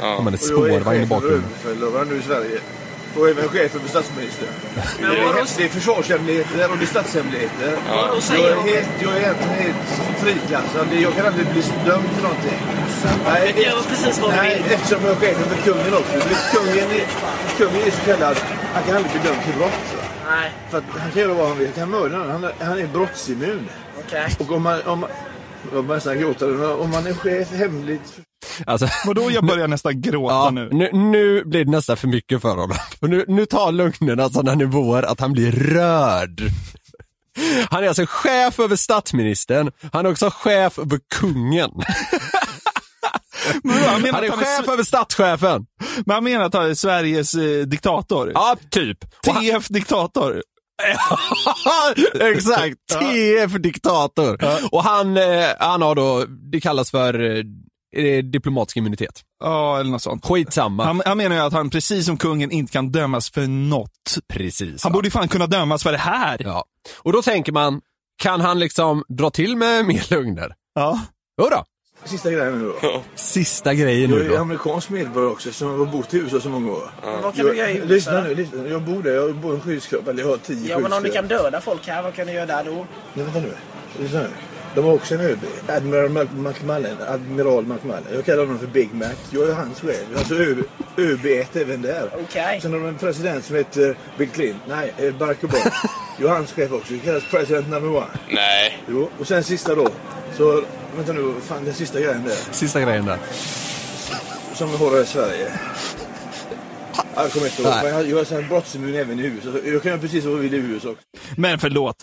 S5: Ja, men det
S8: Och jag
S5: spårvagn i
S8: är chef över
S5: bakgrunden.
S8: överbefälhavaren nu i Sverige. Och även chef över statsministern. Det är, det är försvarshemligheter och det är statshemligheter. Jag, är helt, jag är egentligen helt friklassad. Jag kan aldrig bli dömd för någonting. Nej,
S9: Det var precis vad vi
S8: Nej,
S9: ville.
S8: eftersom jag är chef över kungen också. Du vet, Kungen är, kungen är så kallad... Han kan aldrig bli dömd för brott. va?
S9: Nej,
S8: För att han kan göra vad han vill. Han kan mörda någon. Han, är- han är brottsimmun.
S9: okej.
S8: Och om man... Om, man- jag börjar nästan gråta. nu, men Om man är chef hemligt...
S5: Alltså,
S4: Vadå, jag börjar nästan gråta
S5: ja, Mm.
S4: nu.
S5: nu, nu blir det nästan för mycket för honom. För nu, nu tar lögnerna sådana nivåer att han blir röd. Han är alltså chef över statsministern, han är också chef över kungen.
S4: Men vadå, han, menar
S5: Han är
S4: att han är,
S5: chef över statschefen.
S4: s- men han menar att han är Sveriges eh, diktator.
S5: Ja, typ. Och han-
S4: TF-diktator.
S5: Exakt, TF-diktator. Och han, eh, han har då, det kallas för eh, eh, diplomatisk immunitet.
S4: Ja, eller något sånt.
S5: Skitsamma.
S4: Han, han menar ju att han, precis som kungen, inte kan dömas för något.
S5: Precis.
S4: Han
S5: ja.
S4: borde ju fan kunna dömas för det här.
S5: ja. Och då tänker man, kan han liksom dra till med mer lögner?
S4: Ja.
S5: Jodå.
S8: Sista grejen nu då.
S5: Sista grejen
S8: Jag
S5: nu
S8: är
S5: då.
S8: amerikansk medborgare också som har bott i USA så många år.
S9: Men vad kan du göra i
S8: Jag, lyssna
S9: USA?
S8: nu, lyssna. Jag bor där. Jag bor i en skyskrapa. Eller jag har tio
S9: Ja, men om ni
S8: skyskrapor.
S9: kan döda folk här, vad kan ni göra där då?
S8: Nej, vänta nu. Lyssna nu. De har också en ÖB. Admiral Mac- McMullen. Admiral McMullen. Jag kallar honom för Big Mac. Jag är hans chef. Alltså ÖB, ÖB1 även där.
S9: Okej.
S8: Sen har de en president som heter eh, Bill Clinton. Nej, eh, Barack Obama. Jag är hans chef också. Det kallas president number one.
S7: Nej.
S8: Jo, och sen sista då. Så, vänta nu. vad Fan, den sista grejen där.
S5: Sista grejen där.
S8: Som vi har här i Sverige. Ja, Jag kommer inte ihåg.
S5: Nej.
S8: Men jag- jag är så här brottsimmun även i USA. Så Jag kan göra precis vad jag vill i USA också.
S4: Men förlåt.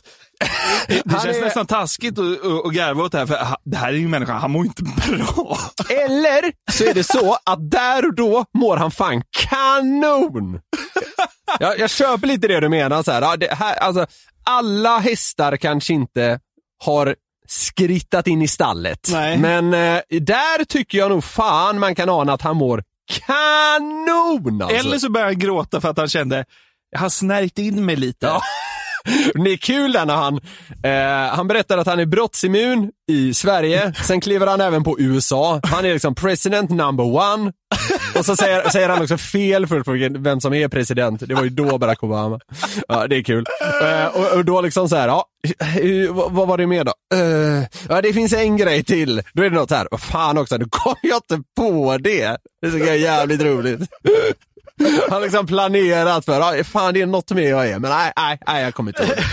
S4: Det
S5: Han
S4: känns
S5: är-
S4: nästan taskigt att- att att garva åt det här, för ha- det här är ju en människa, han mår inte bra.
S5: Alltså. Eller så är det så att där och då mår han fan kanon! Jag, jag köper lite det du menar. Så här. Ja, det här alltså, alla hästar kanske inte har skrittat in i stallet.
S4: Nej.
S5: Men eh, där tycker jag nog fan man kan ana att han mår kanon! Alltså.
S4: Eller så började han gråta för att han kände, jag har snärjt in mig lite.
S5: Ja. Det är kul där när han, eh, han berättar att han är brottsimmun i Sverige. Sen kliver han även på USA. Han är liksom president number one. Och så säger, säger han också fel först på vilken- vem som är president. Det var ju då Barack Obama. Ja, det är kul. Eh, och, och då liksom så här, ja, eh, vad, vad var det mer då? Eh, ja, det finns en grej till. Då är det något så här, vad fan också, nu kom jag inte på det. Det tycker jag är jävligt roligt. Han har liksom planerat för, ja, fan det är något med jag är, men nej, nej, nej jag kommer inte ihåg.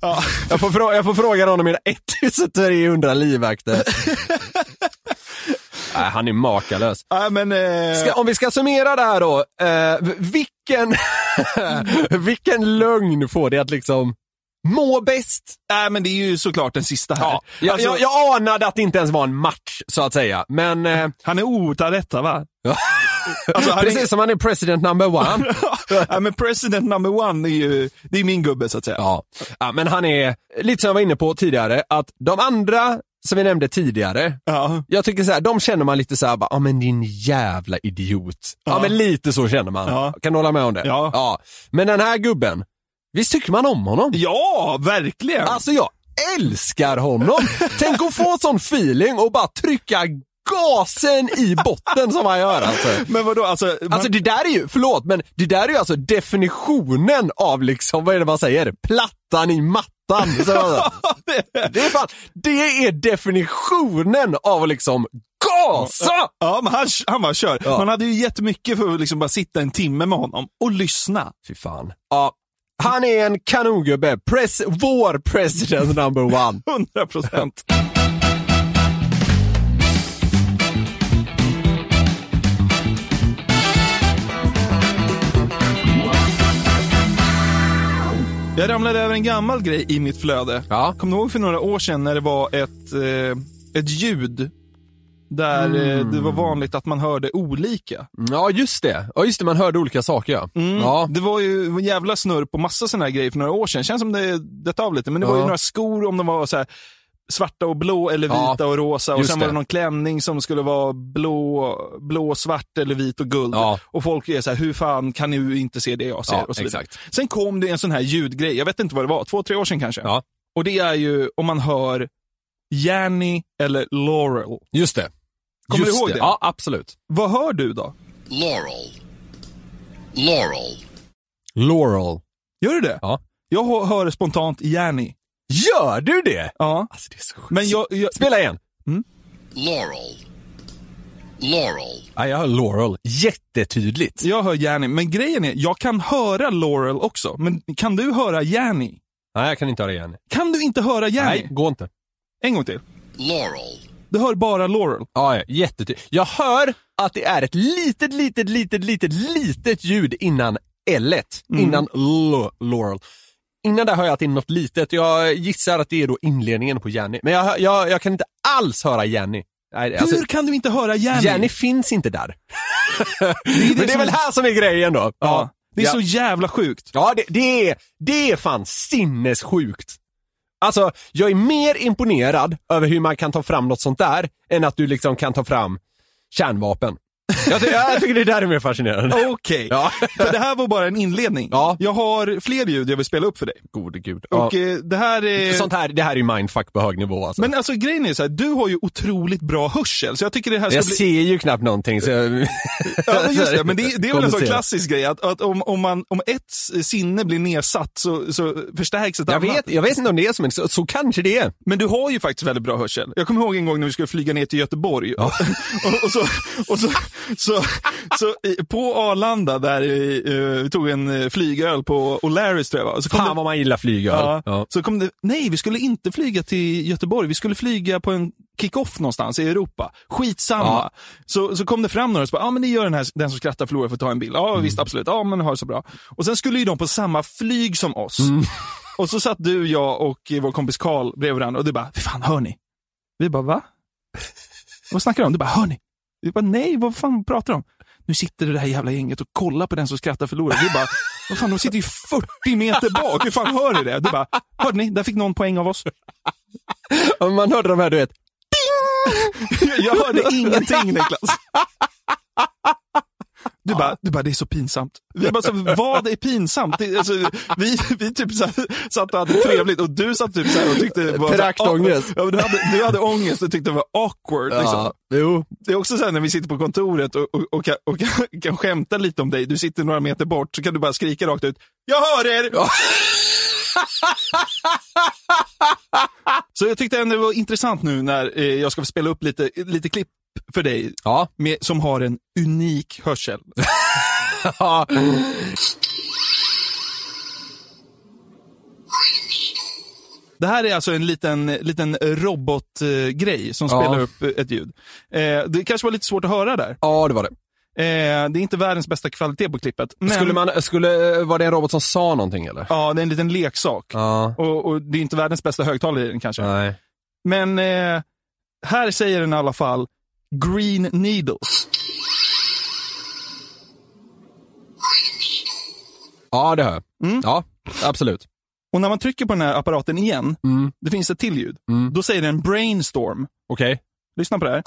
S4: Ja.
S5: Jag får, fråga, jag får fråga någon om mina 1300 livvakter. Nej, han är makalös.
S4: Ja, men, eh,
S5: Ska, om vi ska summera det här då. Eh, v- vilken, vilken lögn får det att liksom må bäst?
S4: nej, men det är ju såklart den sista här.
S5: Ja, jag,
S4: Alltså,
S5: jag, jag anade att det inte ens var en match, så att säga. Men eh,
S4: Han är outad detta va? Alltså, han är-
S5: precis som han är president number one.
S4: ja, men president number one är ju, det är min gubbe så att säga.
S5: Ja. ja, men han är, lite som jag var inne på tidigare, att de andra som vi nämnde tidigare,
S4: Ja.
S5: jag tycker så här, de känner man lite så här, bara, ja men din jävla idiot. Ja, men lite så känner man.
S4: Ja.
S5: Kan du hålla med om det?
S4: Ja.
S5: Men den här gubben, visst tycker man om honom?
S4: Ja, verkligen!
S5: Alltså jag älskar honom! Tänk att få sån feeling och bara trycka gasen i botten som han gör alltså.
S4: men vadå, alltså, man,
S5: Alltså det där är ju, förlåt, men det där är ju alltså definitionen av liksom, vad är det man säger? Plattan i mattan. Så, det, är fan, det är definitionen av liksom gasa!
S4: ja, men han, han bara kör.
S5: Ja.
S4: Man hade ju jättemycket för att liksom bara sitta en timme med honom och lyssna.
S5: Fy fan. Ja, han är en kanongubbe. Pres, vår president number one.
S4: 100 procent. Jag ramlade över en gammal grej i mitt flöde.
S5: Ja.
S4: Kommer du ihåg för några år sedan när det var ett, eh, ett ljud där eh, det var vanligt att man hörde olika.
S5: Ja, just det. Ja, just det. Man hörde olika saker ja. ja.
S4: Det var ju en jävla snurr på massa sådana här grejer för några år sedan. Känns som det dött av lite, men det var ju
S5: Ja.
S4: några skor om de var så här svarta och blå eller
S5: Ja,
S4: vita och rosa. Och
S5: just
S4: sen var
S5: det.
S4: det någon klänning som skulle vara blå, blå, svart eller vit och guld.
S5: Ja.
S4: Och folk är så här, hur fan kan du inte se det jag ser?
S5: Ja,
S4: och så vidare.
S5: exakt.
S4: Sen kom det en sån här ljudgrej, jag vet inte vad det var, två, tre år sedan kanske.
S5: Ja.
S4: Och det är ju om man hör Janny eller Laurel.
S5: Just det.
S4: Kommer du
S5: just
S4: ihåg det?
S5: Ja, absolut.
S4: Vad hör du då?
S2: Laurel. Laurel.
S5: Laurel.
S4: Gör du det?
S5: Ja.
S4: Jag hör- hör spontant Janny.
S5: Gör du det?
S4: Ja.
S5: Alltså det är så sjukt.
S4: Men jag, jag,
S5: Spela igen.
S2: Laurel. Laurel.
S5: Ja, jag hör Laurel jättetydligt.
S4: jag hör Janny, men grejen är, jag kan höra Laurel också. Men kan du höra Janny?
S5: Nej, jag kan inte höra igen.
S4: Kan du inte höra Janny?
S5: Nej, gå inte.
S4: En gång till.
S2: Laurel.
S4: Du hör bara Laurel.
S5: Ja, ja, jättetydligt. Jag hör att det är ett litet, litet, litet, litet, litet ljud innan l
S4: Mm.
S5: Innan l Laurel. Innan där hör jag att det är något litet. Jag gissar att det är då inledningen på Jenny. Men jag, hör- jag, jag kan inte alls höra Jenny. Nej, alltså,
S4: Hur kan du inte höra Janny?
S5: Jenny finns inte där.
S4: det
S5: Men det är
S4: som-
S5: väl här som är grejen då.
S4: Ja. Det är
S5: Ja.
S4: så jävla sjukt.
S5: Ja, det, det, är, det är fan sinnessjukt. Alltså, jag är mer imponerad över hur man kan ta fram något sånt där än att du liksom kan ta fram kärnvapen. Jag, ty- jag tycker det där är mer fascinerande.
S4: Okej.
S5: Ja.
S4: För det här var bara en inledning.
S5: Ja.
S4: Jag har fler ljud jag vill spela upp för dig.
S5: Gode gud.
S4: Och
S5: Ja.
S4: eh, det här är...
S5: Sånt här, det här är ju mindfuck på hög nivå alltså.
S4: Men alltså grejen är så här, du har ju otroligt bra hörsel, så jag tycker det här ska
S5: jag
S4: bli...
S5: ser ju knappt någonting så jag...
S4: Ja, men just det. Men det, det är väl en sån
S5: Kompensera.
S4: klassisk grej att, att om, om, man, om ett sinne blir nedsatt så, så förstärks ett
S5: Jag
S4: annat.
S5: vet, jag vet inte om det är så, men så, så kanske det är.
S4: Men du har ju faktiskt väldigt bra hörsel. Jag kommer ihåg en gång när vi skulle flyga ner till Göteborg. Och, och så, och så, så, så, i- på Arlanda där i, eh, vi tog en eh, flygöl på O'Larrys tror jag va? Och så kom
S5: Fan
S4: det,
S5: vad man gillar flygöl.
S4: ja,
S5: Ja. Ja.
S4: Så kom det, nej vi skulle inte flyga till Göteborg, vi skulle flyga på en kick-off någonstans i Europa. Skitsamma.
S5: Ja.
S4: Så, så kom det fram några och så bara, ja ah, men det gör den här, den som skrattar förlorar för att ta en bild.
S5: Mm.
S4: Ja visst absolut, ja men ha det så bra. Och sen skulle ju de på samma flyg som oss.
S5: Mm.
S4: Och så satt du, jag och vår kompis Karl bredvid varandra och du bara, "Fy fan hör ni? Vi bara, va? Vad snackar du om? Du bara, hör ni? Vi bara, nej, vad fan pratar du om? Nu sitter det här jävla gänget och kollar på den som skrattar förlorar. Vi bara, vad fan, de sitter ju 40 meter bak. Hur fan hör ni det? Du bara, hörde ni? Där fick någon poäng av oss.
S5: Man hörde de här, du vet.
S4: Jag hörde ingenting, Niklas. Du bara, du bara, det är så pinsamt. Vi bara, så, vad är pinsamt? Det, alltså, vi, vi typ så här, satt och hade trevligt och du satt typ så här och tyckte det var... så här-
S5: Praktångest.
S4: Ja, men du, hade, du hade ångest och tyckte det var awkward. Liksom.
S5: Ja, jo.
S4: Det är också så här när vi sitter på kontoret och, och, och, kan, och kan, kan skämta lite om dig. Du sitter några meter bort så kan du bara skrika rakt ut. Jag hör er! så jag tyckte ändå det var intressant nu när eh, jag ska spela upp lite, lite klipp för dig
S5: Ja.
S4: med, som har en unik hörsel.
S5: Ja.
S4: Det här är alltså en liten, liten robotgrej som
S5: Ja.
S4: spelar upp eh, ett ljud. Eh, det kanske var lite svårt att höra där.
S5: ja, det var det.
S4: Eh, det är inte världens bästa kvalitet på klippet. Men,
S5: Skulle man, skulle, var det en robot som sa någonting eller?
S4: Ja, det är en liten leksak.
S5: Ja.
S4: Och, och det är inte världens bästa högtalare i den kanske.
S5: Nej.
S4: Men eh, här säger den i alla fall Green Needle.
S5: Ja, det hör jag. Ja, absolut.
S4: Och när man trycker på den här apparaten igen,
S5: Mm.
S4: det finns ett till ljud. Då säger den Brainstorm.
S5: Okej.
S4: Lyssna på det här.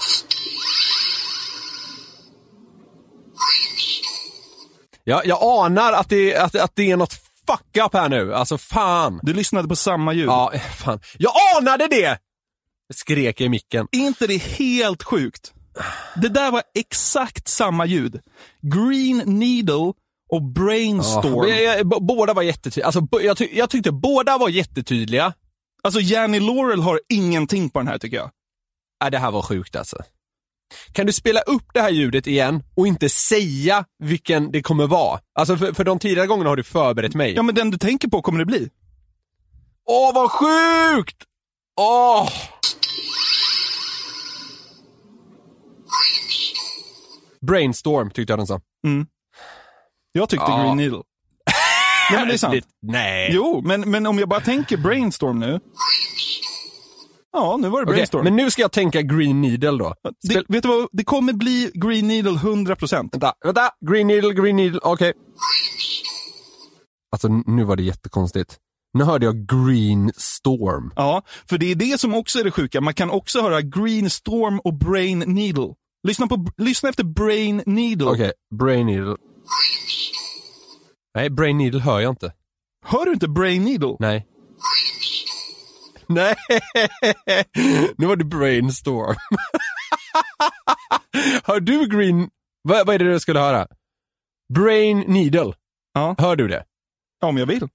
S5: Ja, jag anar att det, att, att det är något fuck up här nu. Alltså fan.
S4: Du lyssnade på samma ljud.
S5: Ja, fan. Jag anade det! Skrek jag i micken.
S4: Är inte det helt sjukt? Det där var exakt samma ljud. Green Needle och Brainstorm.
S5: Ja, jag- jag- b- båda var jättetydliga. Alltså, b- jag, ty- jag tyckte båda var jättetydliga.
S4: Alltså, Janny Laurel har ingenting på den här tycker jag.
S5: Äh, det här var sjukt alltså. Kan du spela upp det här ljudet igen och inte säga vilken det kommer vara? Alltså för, för de tidigare gångerna har du förberett mig.
S4: Ja, men den du tänker på kommer det bli.
S5: Åh, vad sjukt! Åh! Brainstorm tyckte jag den sa.
S4: Jag tyckte
S5: Ja.
S4: Green Needle. Nej, men det är sant.
S5: nej.
S4: Jo, men, men om jag bara tänker brainstorm nu. Ja, nu var det
S5: Okej,
S4: brainstorm.
S5: men nu ska jag tänka Green Needle då.
S4: det, vet du vad? Det kommer bli Green Needle 100%.
S5: Vänta, vänta! Green needle, green needle, okej. Alltså nu var det jättekonstigt. Nu hörde jag green storm.
S4: Ja, för det är det som också är det sjuka. Man kan också höra Green Storm och Brain Needle. Lyssna, på, lyssna efter Brain Needle.
S5: Okej, brain needle. Nej, brain needle hör jag inte.
S4: Hör du inte Brain Needle?
S5: Nej. Nej! Nu var det brain storm. Hör du green... Vad, vad är det du skulle höra? Brain needle.
S4: Ja.
S5: Hör du det?
S4: Om jag vill.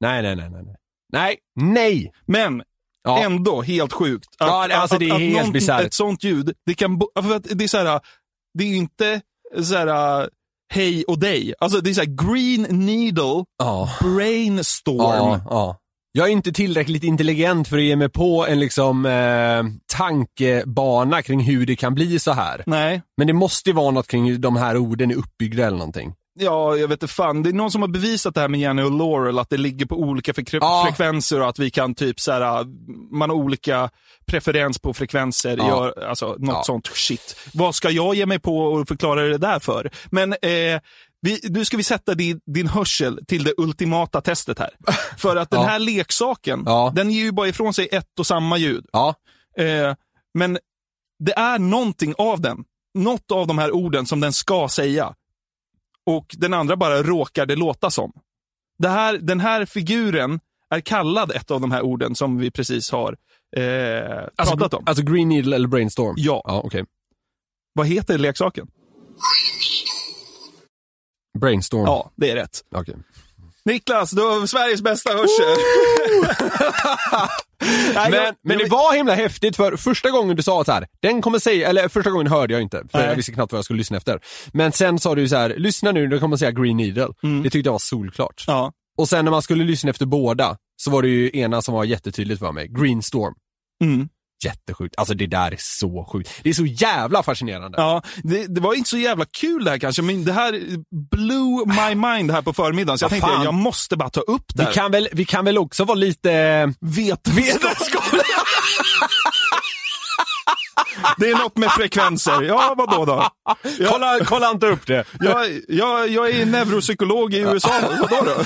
S5: Nej, nej, nej, nej. nej. Nej, nej!
S4: Men
S5: Ja.
S4: ändå helt sjukt. Att,
S5: Ja, det- alltså, det är helt
S4: någonting-
S5: bisarrt.
S4: Ett sånt ljud, det kan... bo- För att det är så här, det är ju inte så här, äh, hej och dig. Alltså det är så här, Green Needle,
S5: Ja.
S4: Brain Storm.
S5: Ja, ja. Jag är inte tillräckligt intelligent för att ge mig på en liksom, eh, tankebana kring hur det kan bli så här.
S4: Nej.
S5: Men det måste ju vara något kring hur de här orden är uppbyggda eller någonting.
S4: Ja, jag vet inte fan. Det är någon som har bevisat det här med Jenny och Laurel, att det ligger på olika frekre-
S5: Ja.
S4: frekvenser och att vi kan typ så här, man har olika preferens på frekvenser,
S5: Ja.
S4: gör, alltså något
S5: Ja.
S4: sånt shit. Vad ska jag ge mig på och förklara det där för? Men eh, vi, nu ska vi sätta din, din hörsel till det ultimata testet här. För att den
S5: Ja.
S4: här leksaken,
S5: Ja.
S4: den ger ju bara ifrån sig ett och samma ljud.
S5: Ja,
S4: Eh, men det är någonting av den. Något av de här orden som den ska säga. Och den andra bara råkar det låta som. Det här, den här figuren är kallad ett av de här orden som vi precis har eh,
S5: alltså,
S4: pratat om.
S5: alltså Green Needle eller Brainstorm?
S4: Ja.
S5: Ja, okej.
S4: Vad heter leksaken?
S5: Brainstorm.
S4: Ja, det är rätt.
S5: Okej.
S4: Niklas, du har Sveriges bästa hörsel. Nej, jag-
S5: Men, men det var himla häftigt för första gången du sa så här, den kommer säga, eller första gången hörde jag inte, för
S4: Nej.
S5: jag visste knappt vad jag skulle lyssna efter. Men sen sa du så här, lyssna nu, den kommer säga Green Needle. Det tyckte jag var solklart.
S4: Mm. Ja,
S5: Och sen när man skulle lyssna efter båda så var det ju ena som var jättetydligt för mig, Green Storm.
S4: Mm.
S5: Jättesjukt. Alltså det där är så sjukt. Det är så jävla fascinerande.
S4: Ja, det, det var inte så jävla kul det här kanske, men det här blew my mind här på förmiddagen. Så jag
S5: Vad
S4: tänkte,
S5: fan?
S4: jag måste bara ta upp det
S5: Vi
S4: här.
S5: kan, väl, vi kan väl också vara lite...
S4: Vetenskap. Det är något med frekvenser. Ja, vadå då? Jag,
S5: Kolla, kolla inte upp det.
S4: jag, jag, jag är neuropsykolog i USA. Vadå då?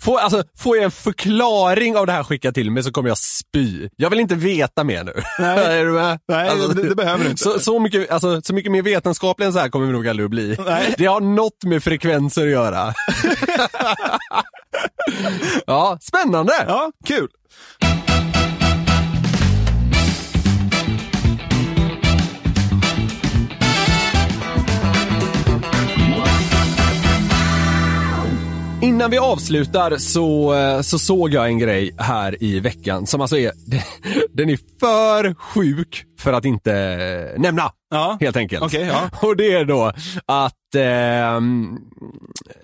S5: Får, alltså, får jag en förklaring av det här skickat till mig så kommer jag spy. Jag vill inte veta mer nu.
S4: Nej.
S5: är du med? Alltså,
S4: Nej, det- det behöver du inte.
S5: Så, så, mycket, alltså, så mycket mer vetenskaplig än så här kommer vi nog aldrig att bli. Det har något med frekvenser att göra. ja, spännande!
S4: Ja, kul.
S5: Innan vi avslutar så, eh, så såg jag en grej här i veckan som alltså är, den är för sjuk för att inte eh, nämna.
S4: Ja.
S5: Helt enkelt.
S4: Okej, ja.
S5: Och det är då att eh,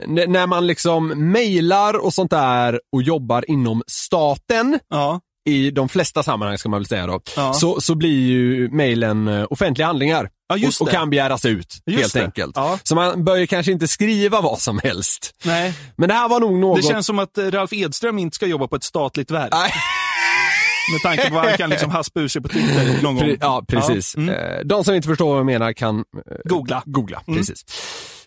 S5: n- när man liksom mejlar och sånt där och jobbar inom staten
S4: Ja,
S5: i de flesta sammanhang ska man väl säga då,
S4: Ja.
S5: så, så blir ju mejlen eh, offentliga handlingar.
S4: Ja, just
S5: och, och
S4: det.
S5: kan begäras ut,
S4: Just
S5: helt
S4: det.
S5: enkelt.
S4: Ja.
S5: Så man bör ju kanske inte skriva vad som helst.
S4: nej.
S5: Men det här var nog något...
S4: Det känns som att eh, Ralf Edström inte ska jobba på ett statligt verk.
S5: Nej.
S4: Med tanke på vad han kan liksom haspa ur sig på Twitter någon gång.
S5: Pre- ja, precis.
S4: Ja, mm.
S5: Eh, De som inte förstår vad jag menar kan eh,
S4: Googla. Mm.
S5: googla precis.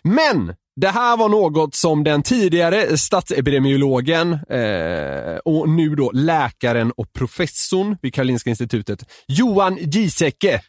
S5: Men det här var något som den tidigare statsepidemiologen eh, och nu då läkaren och professorn vid Karolinska institutet, Johan Giesecke,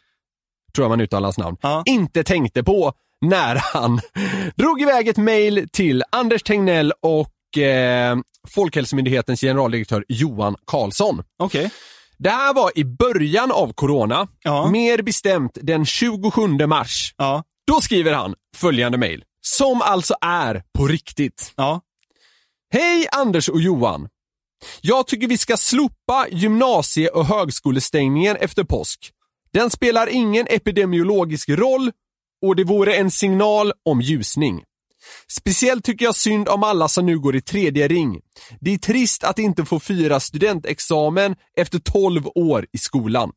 S5: tror jag man uttalar hans namn,
S4: Ja.
S5: inte tänkte på när han drog iväg ett mejl till Anders Tegnell och eh, Folkhälsomyndighetens generaldirektör Johan Karlsson.
S4: Okej.
S5: Det här var i början av corona,
S4: Ja.
S5: mer bestämt den 27 mars.
S4: Ja,
S5: Då skriver han följande mejl, som alltså är på riktigt.
S4: ja.
S5: Hej Anders och Johan! Jag tycker vi ska slopa gymnasie och högskolestängningen efter påsk. Den spelar ingen epidemiologisk roll och det vore en signal om ljusning. Speciellt tycker jag synd om alla som nu går i tredje ring. Det är trist att inte få fira studentexamen efter 12 år i skolan.